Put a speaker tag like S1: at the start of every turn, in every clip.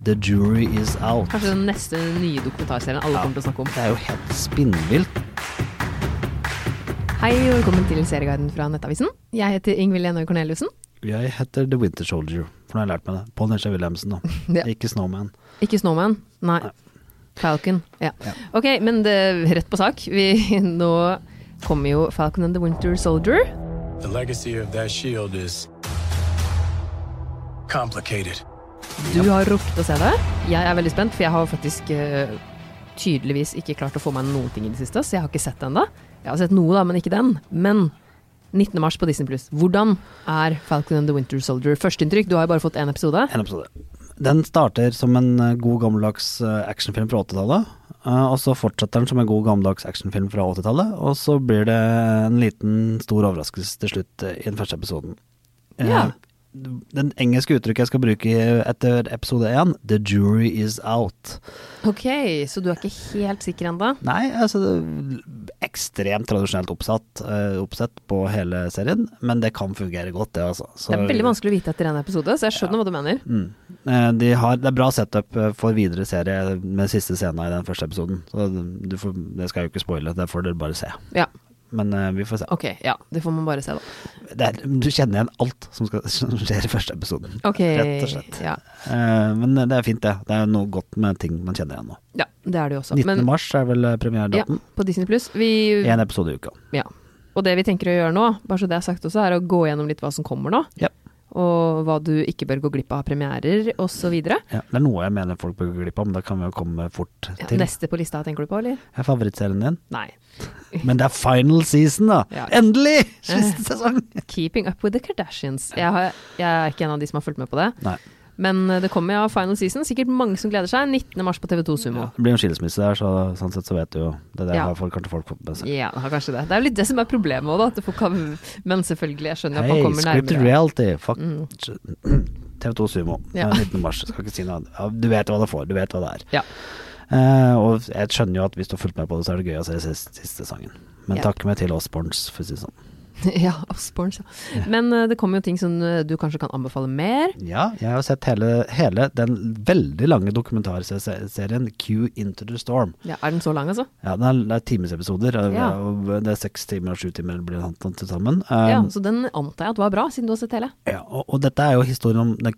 S1: The jury is out.
S2: Kanskje den neste nye dokumentarserien alle kommer til å snakke om.
S1: Det er jo helt spinnvilt.
S2: Hei og velkommen til Serieguiden fra Nettavisen. Jeg heter Ingvild Enøy Corneliussen.
S1: Jeg heter The Winter Soldier, for nå har jeg lært meg det. Paul Nesje Wilhelmsen, da.
S2: Ja.
S1: Ikke Snowman.
S2: Ikke Snowman. Nei.
S1: Nei.
S2: Falcon. Ja. Ok, men det, rett på sak. Vi, nå kommer jo Falcon and the Winter Soldier.
S3: The legacy of that shield is complicated.
S2: Du har rukket å se det. Jeg er veldig spent, for jeg har faktisk eh, tydeligvis ikke klart å få meg noen ting i det siste, så jeg har ikke sett den ennå. Jeg har sett noe, da, men ikke den. Men 19. mars på Disney Pluss. Hvordan er Falcon and the Winter Soldier? Førsteinntrykk, du har jo bare fått én episode.
S1: En episode. Den starter som en eh, god gammeldags eh, actionfilm fra 80-tallet. eh, Og så fortsetter den som en god gammeldags actionfilm fra 80-tallet. Og så blir det en liten, stor overraskelse til slutt eh, i den første episoden. Eh,
S2: Ja.
S1: Den engelske uttrykket jeg skal bruke etter episode én, 'the jury is out'.
S2: Ok, så du er ikke helt sikker ennå?
S1: Nei, altså det er ekstremt tradisjonelt oppsatt, eh, oppsett på hele serien, men det kan fungere godt, det altså. Så-
S2: Det er veldig vanskelig å vite etter én episode, så jeg skjønner hva du mener.
S1: Mm. Eh, De har, det er bra setup eh, for videre serie med siste scena i den første episoden. Så du får, det skal jeg jo ikke spoile, det får dere bare se.
S2: Ja,
S1: Men eh, vi får se.
S2: ok, ja, det får man bare se, da.
S1: Det er, du kjenner igjen alt som, skal, som skjer i første episoden,
S2: Ok,
S1: rett og slett.
S2: Ja,
S1: Eh, Men det er fint, det. Det er noe godt med ting man kjenner igjen nå.
S2: ja det er det jo også.
S1: 19.
S2: Men
S1: mars er vel eh,
S2: ja,
S1: premieredaten.
S2: på Disney Pluss vi-
S1: Én episode i uka.
S2: ja. Og det vi tenker å gjøre nå, bare så det er sagt også, er å gå gjennom litt hva som kommer nå.
S1: Ja.
S2: Og hva du ikke bør gå glipp av av premierer, osv.
S1: Ja, det er noe jeg mener folk bør gå glipp av, men da kan vi jo komme fort
S2: Ja,
S1: til.
S2: neste på lista tenker du på, eller?
S1: Det er favorittserien din.
S2: Nei.
S1: Men det er final season, da!
S2: Ja.
S1: Endelig! Siste sesong!
S2: Keeping up with the Kardashians. Jeg, har, jeg er ikke en av de som har fulgt med på det.
S1: Nei.
S2: Men eh, det kommer ja, final season. Sikkert mange som gleder seg. 19. mars på TV2 Sumo.
S1: Det blir jo en skilsmisse der, så sånn sett så vet du jo Det der
S2: Ja.
S1: har folk, kanskje folk fått med seg.
S2: Ja, det har kanskje det. Det er jo litt det som er problemet òg, da. At folk kan, men selvfølgelig, jeg skjønner at
S1: Hei,
S2: man kommer
S1: scripted
S2: nærmere. Mm.
S1: reality! Fuck TV2 Sumo.
S2: Ja.
S1: Eh, 19. mars. Skal ikke si noe annet. Ja, du vet hva du får, du vet hva det er.
S2: Ja.
S1: Eh, og jeg skjønner jo at hvis du har fulgt med på det, så er det gøy å se siste, siste sangen. Men
S2: Ja.
S1: takk med til oss, Borns, for å si det sånn.
S2: ja, Osborns, ja. Men eh, det kommer jo ting som eh, du kanskje kan anbefale mer.
S1: Ja, jeg har sett hele, hele den veldig lange dokumentarserien Q Into the Storm.
S2: Ja, er den så lang, altså?
S1: Ja, det er, det er timesepisoder. og-
S2: Ja.
S1: og Det er seks timer og sju timer blir det antatt til sammen.
S2: Ja,
S1: Um,
S2: Så den antar jeg at var bra, siden du har sett hele.
S1: ja, og, og dette er jo historien om den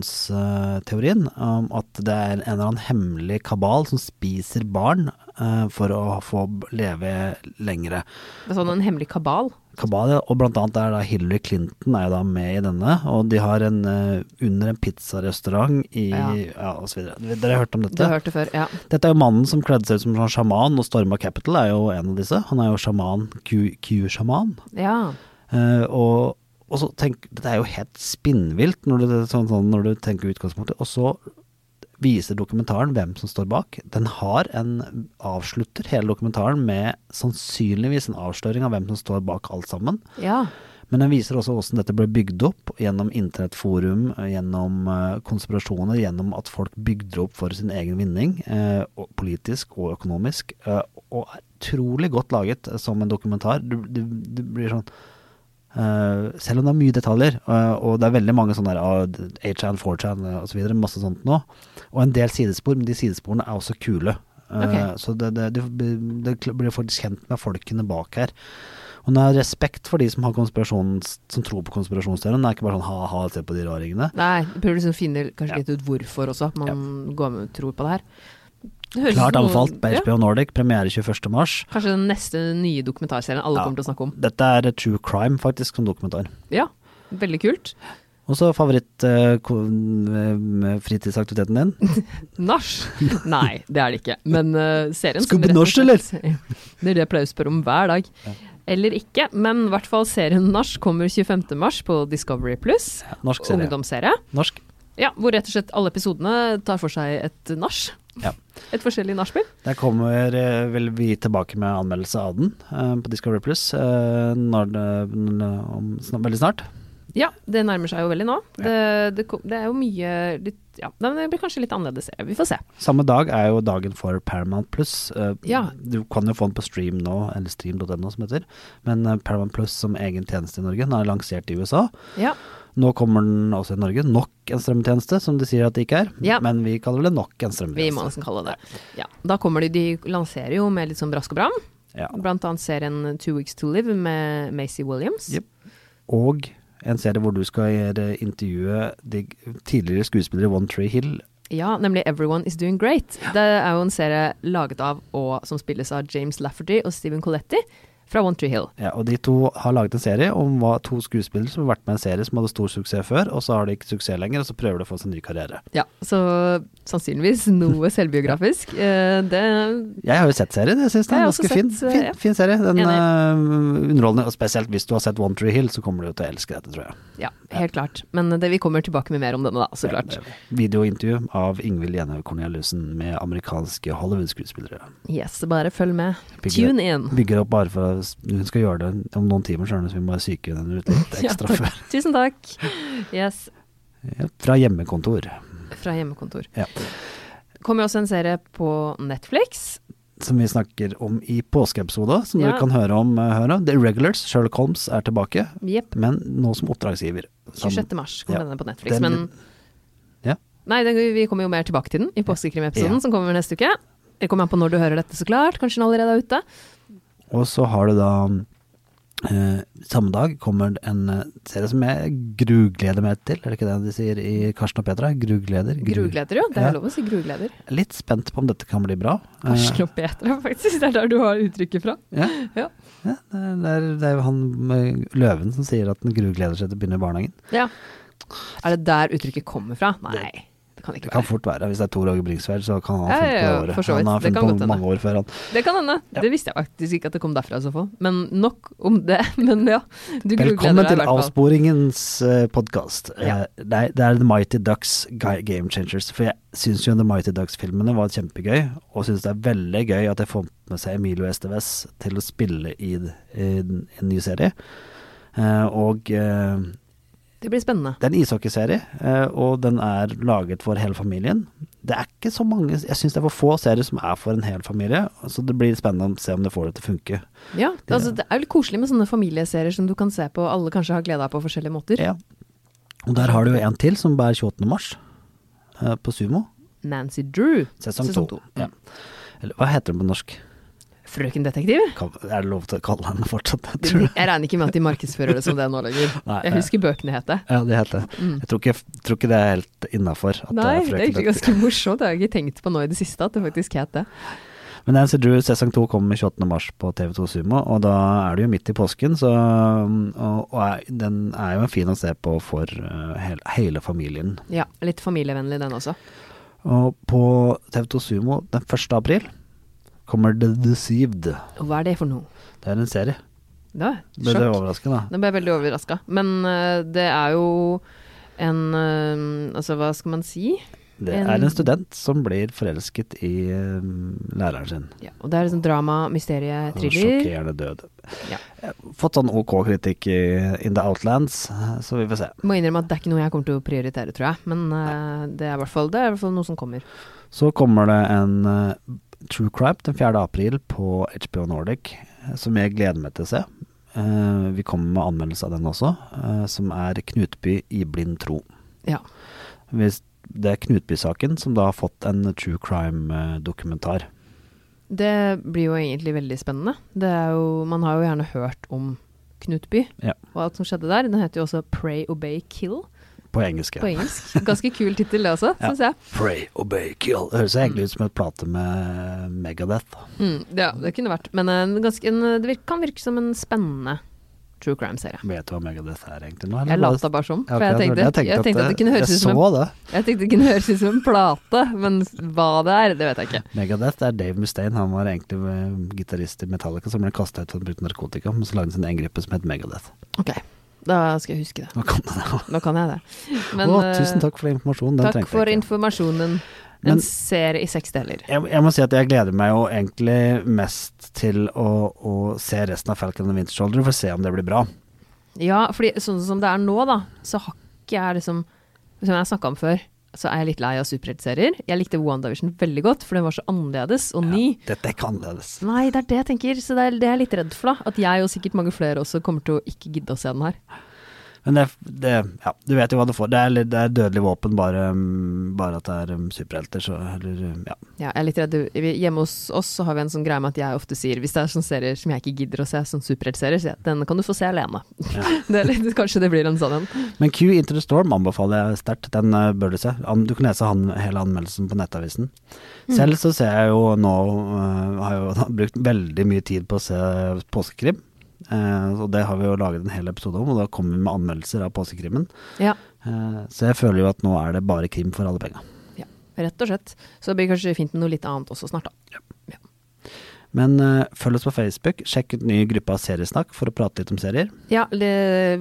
S1: Q-konspirasjonsteorien. Om at det er en eller annen hemmelig kabal som spiser barn eh, for å få b- leve lengre.
S2: Det er sånn en hemmelig kabal.
S1: Kabal, ja, og blant annet er da Hillary Clinton er jo da med i denne. Og de har en eh, under en pizzarestaurant i
S2: Ja.
S1: ja. og så videre. Dere har hørt om dette?
S2: Du har hørt det før, ja.
S1: Dette er jo mannen som kledde seg ut som sånn sjaman, og Storma Capital er jo en av disse. Han er jo sjaman, Q- Q-sjaman.
S2: Ja,
S1: Eh, og, og så tenk, dette er jo helt spinnvilt når du, sånn, sånn, når du tenker utgangspunktet. Og så viser dokumentaren hvem som står bak. Den har en avslutter hele dokumentaren med sannsynligvis en avsløring av hvem som står bak alt sammen.
S2: ja.
S1: Men den viser også hvordan dette ble bygd opp gjennom internettforum, gjennom eh, konspirasjoner, gjennom at folk bygde det opp for sin egen vinning, eh, og politisk og økonomisk, eh, og er utrolig godt laget eh, som en dokumentar. Du, du, du blir sånn eh, selv om det er mye detaljer, eh, og det er veldig mange sånne der, ah, 8chan, 4chan eh, og så videre, masse sånt nå, og en del sidespor, men de sidesporene er også kule. Eh,
S2: Ok.
S1: Så det, det, du blir- det blir faktisk kjent med folkene bak her. Og den har respekt for de som, har konspirasjons- som tror på konspirasjonsteorien. Det er ikke bare sånn ha-ha, se på de raringene.
S2: Nei, du prøver liksom å finne kanskje
S1: Ja.
S2: litt ut hvorfor også, at man går med og tror på det her. Det høres ut
S1: Klart
S2: som noe-
S1: anbefalt på
S2: Ja.
S1: HBO Nordic, premiere 21. mars.
S2: Kanskje den neste nye dokumentarserien alle
S1: Ja.
S2: kommer til å snakke om.
S1: Dette er true crime, faktisk, som dokumentar.
S2: Ja, veldig kult.
S1: Og så favoritt eh, ko- eh, fritidsaktiviteten din.
S2: Nach? Nei, det er det ikke. Men eh, serien som
S1: Skal vi
S2: rett og
S1: nach, eller?
S2: slett- Det er det jeg pleier å spørre om hver dag. Eller ikke, men i hvert fall serien Nach kommer 25. mars på Discovery Pluss.
S1: Norsk serie.
S2: Ungdomsserie.
S1: Norsk.
S2: Ja, hvor rett og slett alle episodene tar for seg et nach.
S1: Ja.
S2: Et forskjellig nachspiel.
S1: Der kommer eh, vel vi tilbake med anmeldelse av den eh, på Discovery Plus eh, når, det- om, snart, veldig snart.
S2: Ja, det nærmer seg jo veldig nå. Det, det, kom- det er jo mye litt, ja, nei, men Det blir kanskje litt annerledes serie. Vi får se.
S1: Samme dag er jo dagen for Paramount Plus. Eh,
S2: Ja.
S1: Du kan jo få den på stream nå, eller stream.no som heter. Men eh, Paramount Plus som egen tjeneste i Norge, den er lansert i USA.
S2: Ja.
S1: Nå kommer den også i Norge. Nok en strømtjeneste, som de sier at det ikke er.
S2: Ja.
S1: Men vi kaller det nok en
S2: Vi må
S1: strømtjeneste.
S2: nesten kalle det det. Ja. Da kommer de, de lanserer jo med litt sånn brask og bram.
S1: Ja.
S2: Blant annet serien Two Weeks to Live med Macy Williams.
S1: Jep. Og en serie hvor du skal gjøre- intervjue de tidligere skuespillere i One Tree Hill.
S2: Ja, nemlig Everyone Is Doing Great. Det er jo en serie laget av og som spilles av James Lafferty og Steven Coletti fra One Tree Hill.
S1: Ja, og de to har laget en serie om hva to skuespillere som har vært med i en serie som hadde stor suksess før, og så har de ikke suksess lenger, og så prøver de å få seg en ny karriere.
S2: Ja, Så sannsynligvis noe selvbiografisk. Eh, Det
S1: Jeg har jo sett serien, jeg syns den
S2: Jeg
S1: er
S2: har
S1: ganske
S2: også
S1: fin.
S2: sett,
S1: fin,
S2: ja.
S1: fin serie. Den
S2: Enig.
S1: eh, underholdende, og spesielt hvis du har sett One Tree Hill, så kommer du jo til å elske dette, tror jeg.
S2: Ja, helt klart. Men det, vi kommer tilbake med mer om denne, da, så klart.
S1: Videointervju av Ingvild Jenhaug Korneliussen med amerikanske Hollywood-skuespillere.
S2: Yes, bare følg med.
S1: Bygger-
S2: Tune in.
S1: Bygger opp bare for at hun skal gjøre det om noen timer, skjønner du, så vi må psyke henne ut litt
S2: Ja,
S1: ekstra
S2: takk.
S1: før.
S2: Tusen takk. Yes,
S1: Ja, Fra hjemmekontor,
S2: fra hjemmekontor.
S1: Ja.
S2: Kommer jo også en serie på Netflix.
S1: som vi snakker om i påskeepisoden, som
S2: Ja.
S1: dere kan høre om. eh, Høre. The Regulars, Sherlock Holmes, er tilbake,
S2: Jepp.
S1: men nå som oppdragsgiver. Som-
S2: 26. mars kommer
S1: Ja.
S2: denne på Netflix.
S1: Den-
S2: men
S1: Ja.
S2: Nei, den, vi kommer jo mer tilbake til den i påskekrimepisoden
S1: Ja.
S2: som kommer neste uke. Det kommer an på når du hører dette, så klart. Kanskje den allerede er ute.
S1: Og så har du da eh, samme dag kommer det en eh, serie som jeg grugleder meg til, er det ikke det de sier i Karsten og Petra? Grugleder. Gru-
S2: Grugleder, jo. Det
S1: Ja. Eh.
S2: er lov å si grugleder.
S1: Litt spent på om dette kan bli bra. Eh,
S2: Karsten og Petra, faktisk. Det er der du har uttrykket fra.
S1: ja.
S2: Ja.
S1: Ja, det, er, det er- det er jo han med løven som sier at den grugleder seg til å begynne i barnehagen.
S2: Ja. Er det der uttrykket kommer fra? Nei, det kan det
S1: Det
S2: ikke
S1: kan
S2: være.
S1: fort være. Hvis det er Tor Åge Bringsværd, så kan han ha
S2: Ja,
S1: funnet
S2: ja, ja,
S1: på året.
S2: for så vidt.
S1: Han har
S2: Det
S1: funnet
S2: kan godt
S1: på
S2: hende.
S1: mange år før han.
S2: Det kan hende. Det visste jeg faktisk ikke at det kom derfra i så fall. Men nok om det. Men ja, du
S1: Velkommen
S2: grugleder deg i
S1: til
S2: hvert fall.
S1: Avsporingens uh, podkast.
S2: Ja.
S1: nei, det er The Mighty Ducks Ga- Game Changers. For jeg syns jo The Mighty Ducks-filmene var kjempegøy, og syns det er veldig gøy at jeg får med seg Emilio Estevez til å spille i, d- i en en ny serie. Eh, og eh,
S2: Det blir spennende.
S1: det er en ishockeyserie, eh, og den er laget for hele familien. Det er ikke så mange Jeg syns det er for få serier som er for en hel familie, så det blir spennende å se om det får det til å funke.
S2: Ja, det, altså, det er jo litt koselig med sånne familieserier som du kan se på og alle kanskje har glede av på forskjellige måter.
S1: Ja. Og der har du jo en til som bærer 28. mars, eh, på Sumo.
S2: Nancy Drew,
S1: Sesong,
S2: Sesong
S1: to.
S2: to.
S1: Ja. Eller hva heter den på norsk?
S2: Frøken Detektiv.
S1: Kan, er det lov til å kalle henne fortsatt det, tror
S2: Jeg
S1: du?
S2: regner ikke med at de markedsfører det som det nå lenger.
S1: Nei,
S2: Jeg
S1: eh,
S2: husker bøkene het det. Mm.
S1: Ja, det heter det. Jeg tror ikke, tror ikke det er helt innafor.
S2: Nei, det er egentlig ganske morsomt. Det har jeg ikke tenkt på nå i det siste, at det faktisk het det.
S1: Men Nancy Drew sesong 2 kommer 28. mars på TV2 Sumo, og da er det jo midt i påsken, så mm, Og, og er, den er jo fin å se på for eh, hele, hele familien.
S2: Ja, litt familievennlig den også.
S1: Og på TV2 Sumo den 1. april kommer The Deceived.
S2: Og hva er det for noe?
S1: Det er en serie.
S2: Det var
S1: Ble det
S2: sjokk.
S1: overraskende? da?
S2: Nå ble jeg veldig overraska. Men eh, det er jo en eh, Altså, hva skal man si?
S1: Det
S2: En-
S1: er en student som blir forelsket i eh, læreren sin.
S2: Ja, og det er liksom drama, mysterie,
S1: Altså,
S2: thriller.
S1: Sjokkerende død.
S2: Ja.
S1: Fått sånn OK kritikk i In the Outlands, eh, så vi får se.
S2: Må innrømme at det er ikke noe jeg kommer til å prioritere, tror jeg. Men eh, det er i hvert fall, det er i hvert fall noe som kommer.
S1: Så kommer det en eh, True Crime den 4. april på HBO Nordic, eh, som jeg gleder meg til å se. Eh, vi kommer med anmeldelse av den også, eh, som er Knutby i blind tro.
S2: Ja.
S1: Hvis det er Knutby-saken som da har fått en True eh, Crime-dokumentar.
S2: Det blir jo egentlig veldig spennende. Det er jo, man har jo gjerne hørt om Knutby
S1: Ja.
S2: og alt som skjedde der. Den heter jo også Pray, Obey, Kill
S1: På engelsk.
S2: på engelsk. Ganske kul tittel det også,
S1: Ja.
S2: syns jeg.
S1: Pray, obey, kill. Det høres egentlig ut som en plate med Megadeth.
S2: Mm, ja, det kunne vært. Men eh, en ganske, en, det virk- kan virke som en spennende true crime-serie.
S1: Vet du hva Megadeth er egentlig nå?
S2: Jeg lata bare som, for jeg tenkte, jeg tenkte, at det kunne høres ut som en,
S1: eh, Jeg så det.
S2: jeg tenkte det kunne høres ut som en plate, men hva det er, det vet jeg ikke.
S1: Megadeth er Dave Mustaine. Han var egentlig eh, gitarist i Metallica som ble kasta ut for å bruke narkotika, men så lagde han sin egen gruppe som het Megadeth.
S2: Ok, da skal jeg huske det.
S1: Nå kom det da.
S2: Nå kan jeg det. Men,
S1: Å,
S2: eh,
S1: tusen takk for informasjonen, den
S2: takk
S1: trengte
S2: for
S1: jeg ikke.
S2: informasjonen.
S1: Men-
S2: En serie i seks deler.
S1: Jeg, jeg må si at jeg gleder meg jo egentlig mest til å, å se resten av Falcon and Winter Soldier, for å se om det blir bra.
S2: Ja, fordi sånn som det er nå, da, så har ikke jeg liksom Som jeg snakka om før, så er jeg litt lei av superheltserier. Jeg likte WandaVision veldig godt, for den var så annerledes og ny.
S1: Dette er ikke annerledes.
S2: Nei, det er det jeg tenker, så det er det jeg er litt redd for, da. At jeg og sikkert mange flere også kommer til å ikke gidde å se den her.
S1: Men det, det Ja, du vet jo hva du får. Det er, litt- det er dødelig våpen, bare, mm, bare at det er mm, superhelter, så eller mm, Ja.
S2: Ja, jeg er litt redd. Vi- Hjemme hos oss så har vi en sånn greie med at jeg ofte sier Hvis det er sånne serier som jeg ikke gidder å se, sånn superheltserier, sier jeg denne kan du få se alene. det er litt, kanskje det blir en sånn en.
S1: Men Q Into the Storm anbefaler jeg sterkt. Den eh, bør du se. An- Du kan lese han, hele anmeldelsen på nettavisen.
S2: Mm.
S1: Selv så ser jeg jo nå eh, Har jeg jo brukt veldig mye tid på å se påskekrim. Eh, og det har vi jo laget en hel episode om, og da kommer vi med anmeldelser av påskekrimmen.
S2: Ja,
S1: Eh, så jeg føler jo at nå er det bare krim for alle penga.
S2: ja, rett og slett. Så det blir kanskje fint med noe litt annet også snart, da.
S1: Men eh, følg oss på Facebook, sjekk ut ny gruppe av Seriesnakk for å prate litt om serier.
S2: Ja, le,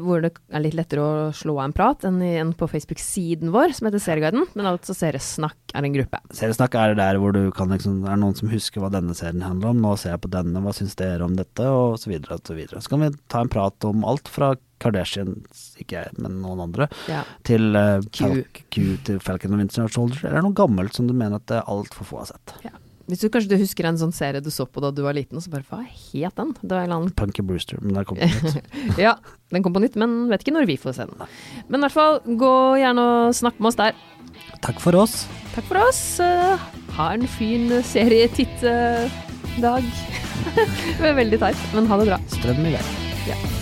S2: hvor det er litt lettere å slå av en prat enn i- enn på Facebook-siden vår, som heter Serieguiden. Men altså Seriesnakk er en gruppe.
S1: Seriesnakk er det der hvor du kan liksom Er det noen som husker hva denne serien handler om? Nå ser jeg på denne, hva syns dere om dette? Og så videre og så videre. Så kan vi ta en prat om alt fra Kardashians, ikke jeg, men noen andre,
S2: Ja.
S1: til eh,
S2: Q.
S1: Fal- Q til Falcon and Winter Soldier, eller noe gammelt som du mener at eh, altfor få har sett.
S2: ja. Hvis du kanskje du husker en sånn serie du så på da du var liten, og så bare hva het den? Det var en eller annen
S1: Punky Brewster, men der kom det ut.
S2: Ja, den kom på nytt, men vet ikke når vi får se den. Men i hvert fall, gå gjerne og snakk med oss der.
S1: Takk for oss.
S2: Takk for oss. Eh, Ha en fin eh, serietitt-dag. Veldig teit, men ha det bra.
S1: Strøm i vei.
S2: Ja.